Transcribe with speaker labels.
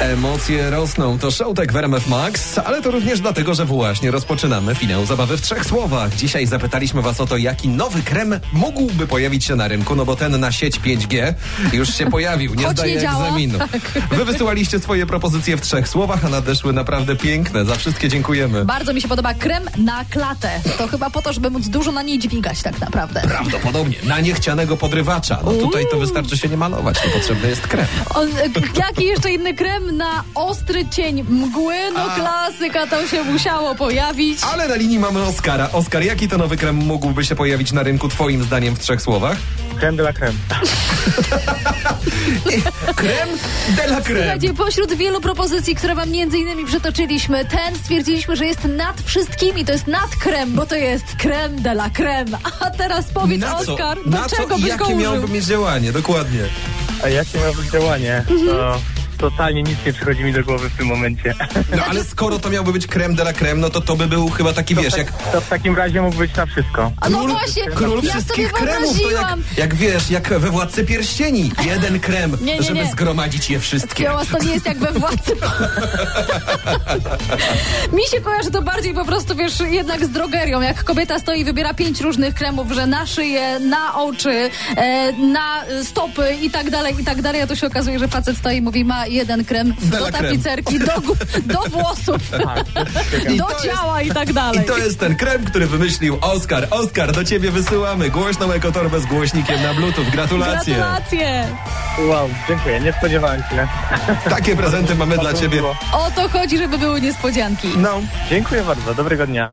Speaker 1: Emocje rosną. To Showtek w RMF Max, ale to również dlatego, że właśnie rozpoczynamy finał zabawy w trzech słowach. Dzisiaj zapytaliśmy was o to, jaki nowy krem mógłby pojawić się na rynku, no bo ten na sieć 5G już się pojawił, nie
Speaker 2: Choć
Speaker 1: zdaje
Speaker 2: nie działa, Tak.
Speaker 1: egzaminu. Wy wysyłaliście swoje propozycje w trzech słowach, a nadeszły naprawdę piękne. Za wszystkie dziękujemy.
Speaker 2: Bardzo mi się podoba krem na klatę. To chyba po to, żeby móc dużo na niej dźwigać tak naprawdę.
Speaker 1: Prawdopodobnie na niechcianego podrywacza. No tutaj to wystarczy się nie malować, niepotrzebny jest krem.
Speaker 2: On, e, jaki jeszcze inny krem na ostry cień mgły? No
Speaker 1: A.
Speaker 2: klasyka, to się musiało pojawić.
Speaker 1: Ale na linii mamy Oskara. Oskar, jaki to nowy krem mógłby się pojawić na rynku twoim zdaniem w trzech słowach?
Speaker 3: Creme de la creme.
Speaker 1: Krem de la creme.
Speaker 2: Słuchajcie, pośród wielu propozycji, które wam między innymi przytoczyliśmy, ten stwierdziliśmy, że jest nad wszystkimi. To jest nad krem, bo to jest krem de la creme. A teraz powiedz, Oskar, do
Speaker 1: na
Speaker 2: czego
Speaker 1: co i
Speaker 2: byś go
Speaker 1: jakie
Speaker 2: użył?
Speaker 1: miałoby mieć działanie? Dokładnie. No,
Speaker 3: A jakie ma być działanie? To totalnie nic nie przychodzi mi do głowy w tym momencie.
Speaker 1: No ale skoro to miałby być krem de la creme, no to to by był chyba taki, wiesz, jak
Speaker 3: To w takim razie mógł być na wszystko.
Speaker 2: A no właśnie,
Speaker 1: król
Speaker 2: ja sobie
Speaker 1: wszystkich kremów. To jak,
Speaker 2: wyobraziłam.
Speaker 1: jak wiesz, jak we Władcy Pierścieni. Jeden krem,
Speaker 2: Nie, nie,
Speaker 1: żeby
Speaker 2: nie.
Speaker 1: zgromadzić je wszystkie.
Speaker 2: Kiełas to nie jest jak we władcy. Mi się kojarzy to bardziej po prostu, wiesz, jednak z drogerią. Jak kobieta stoi i wybiera pięć różnych kremów, że na szyję, na oczy, e, na e, stopy i tak dalej, i tak dalej, a to się okazuje, że facet stoi i mówi, ma jeden krem
Speaker 1: De la
Speaker 2: do
Speaker 1: creme.
Speaker 2: tapicerki, do, gó- do włosów, do
Speaker 1: jest-
Speaker 2: ciała i tak dalej.
Speaker 1: I to jest ten krem, który wymyślił Oskar. Oskar, do ciebie wysyłamy głośną ekotorbę z głośnikiem na bluetooth. Gratulacje.
Speaker 2: Gratulacje!
Speaker 3: Wow, dziękuję, nie spodziewałem się.
Speaker 1: Takie prezenty mamy dla
Speaker 3: Bardzo
Speaker 1: ciebie.
Speaker 3: miło.
Speaker 2: O to chodzi, żeby były niespodzianki.
Speaker 1: No.
Speaker 3: Dziękuję bardzo, dobrego dnia.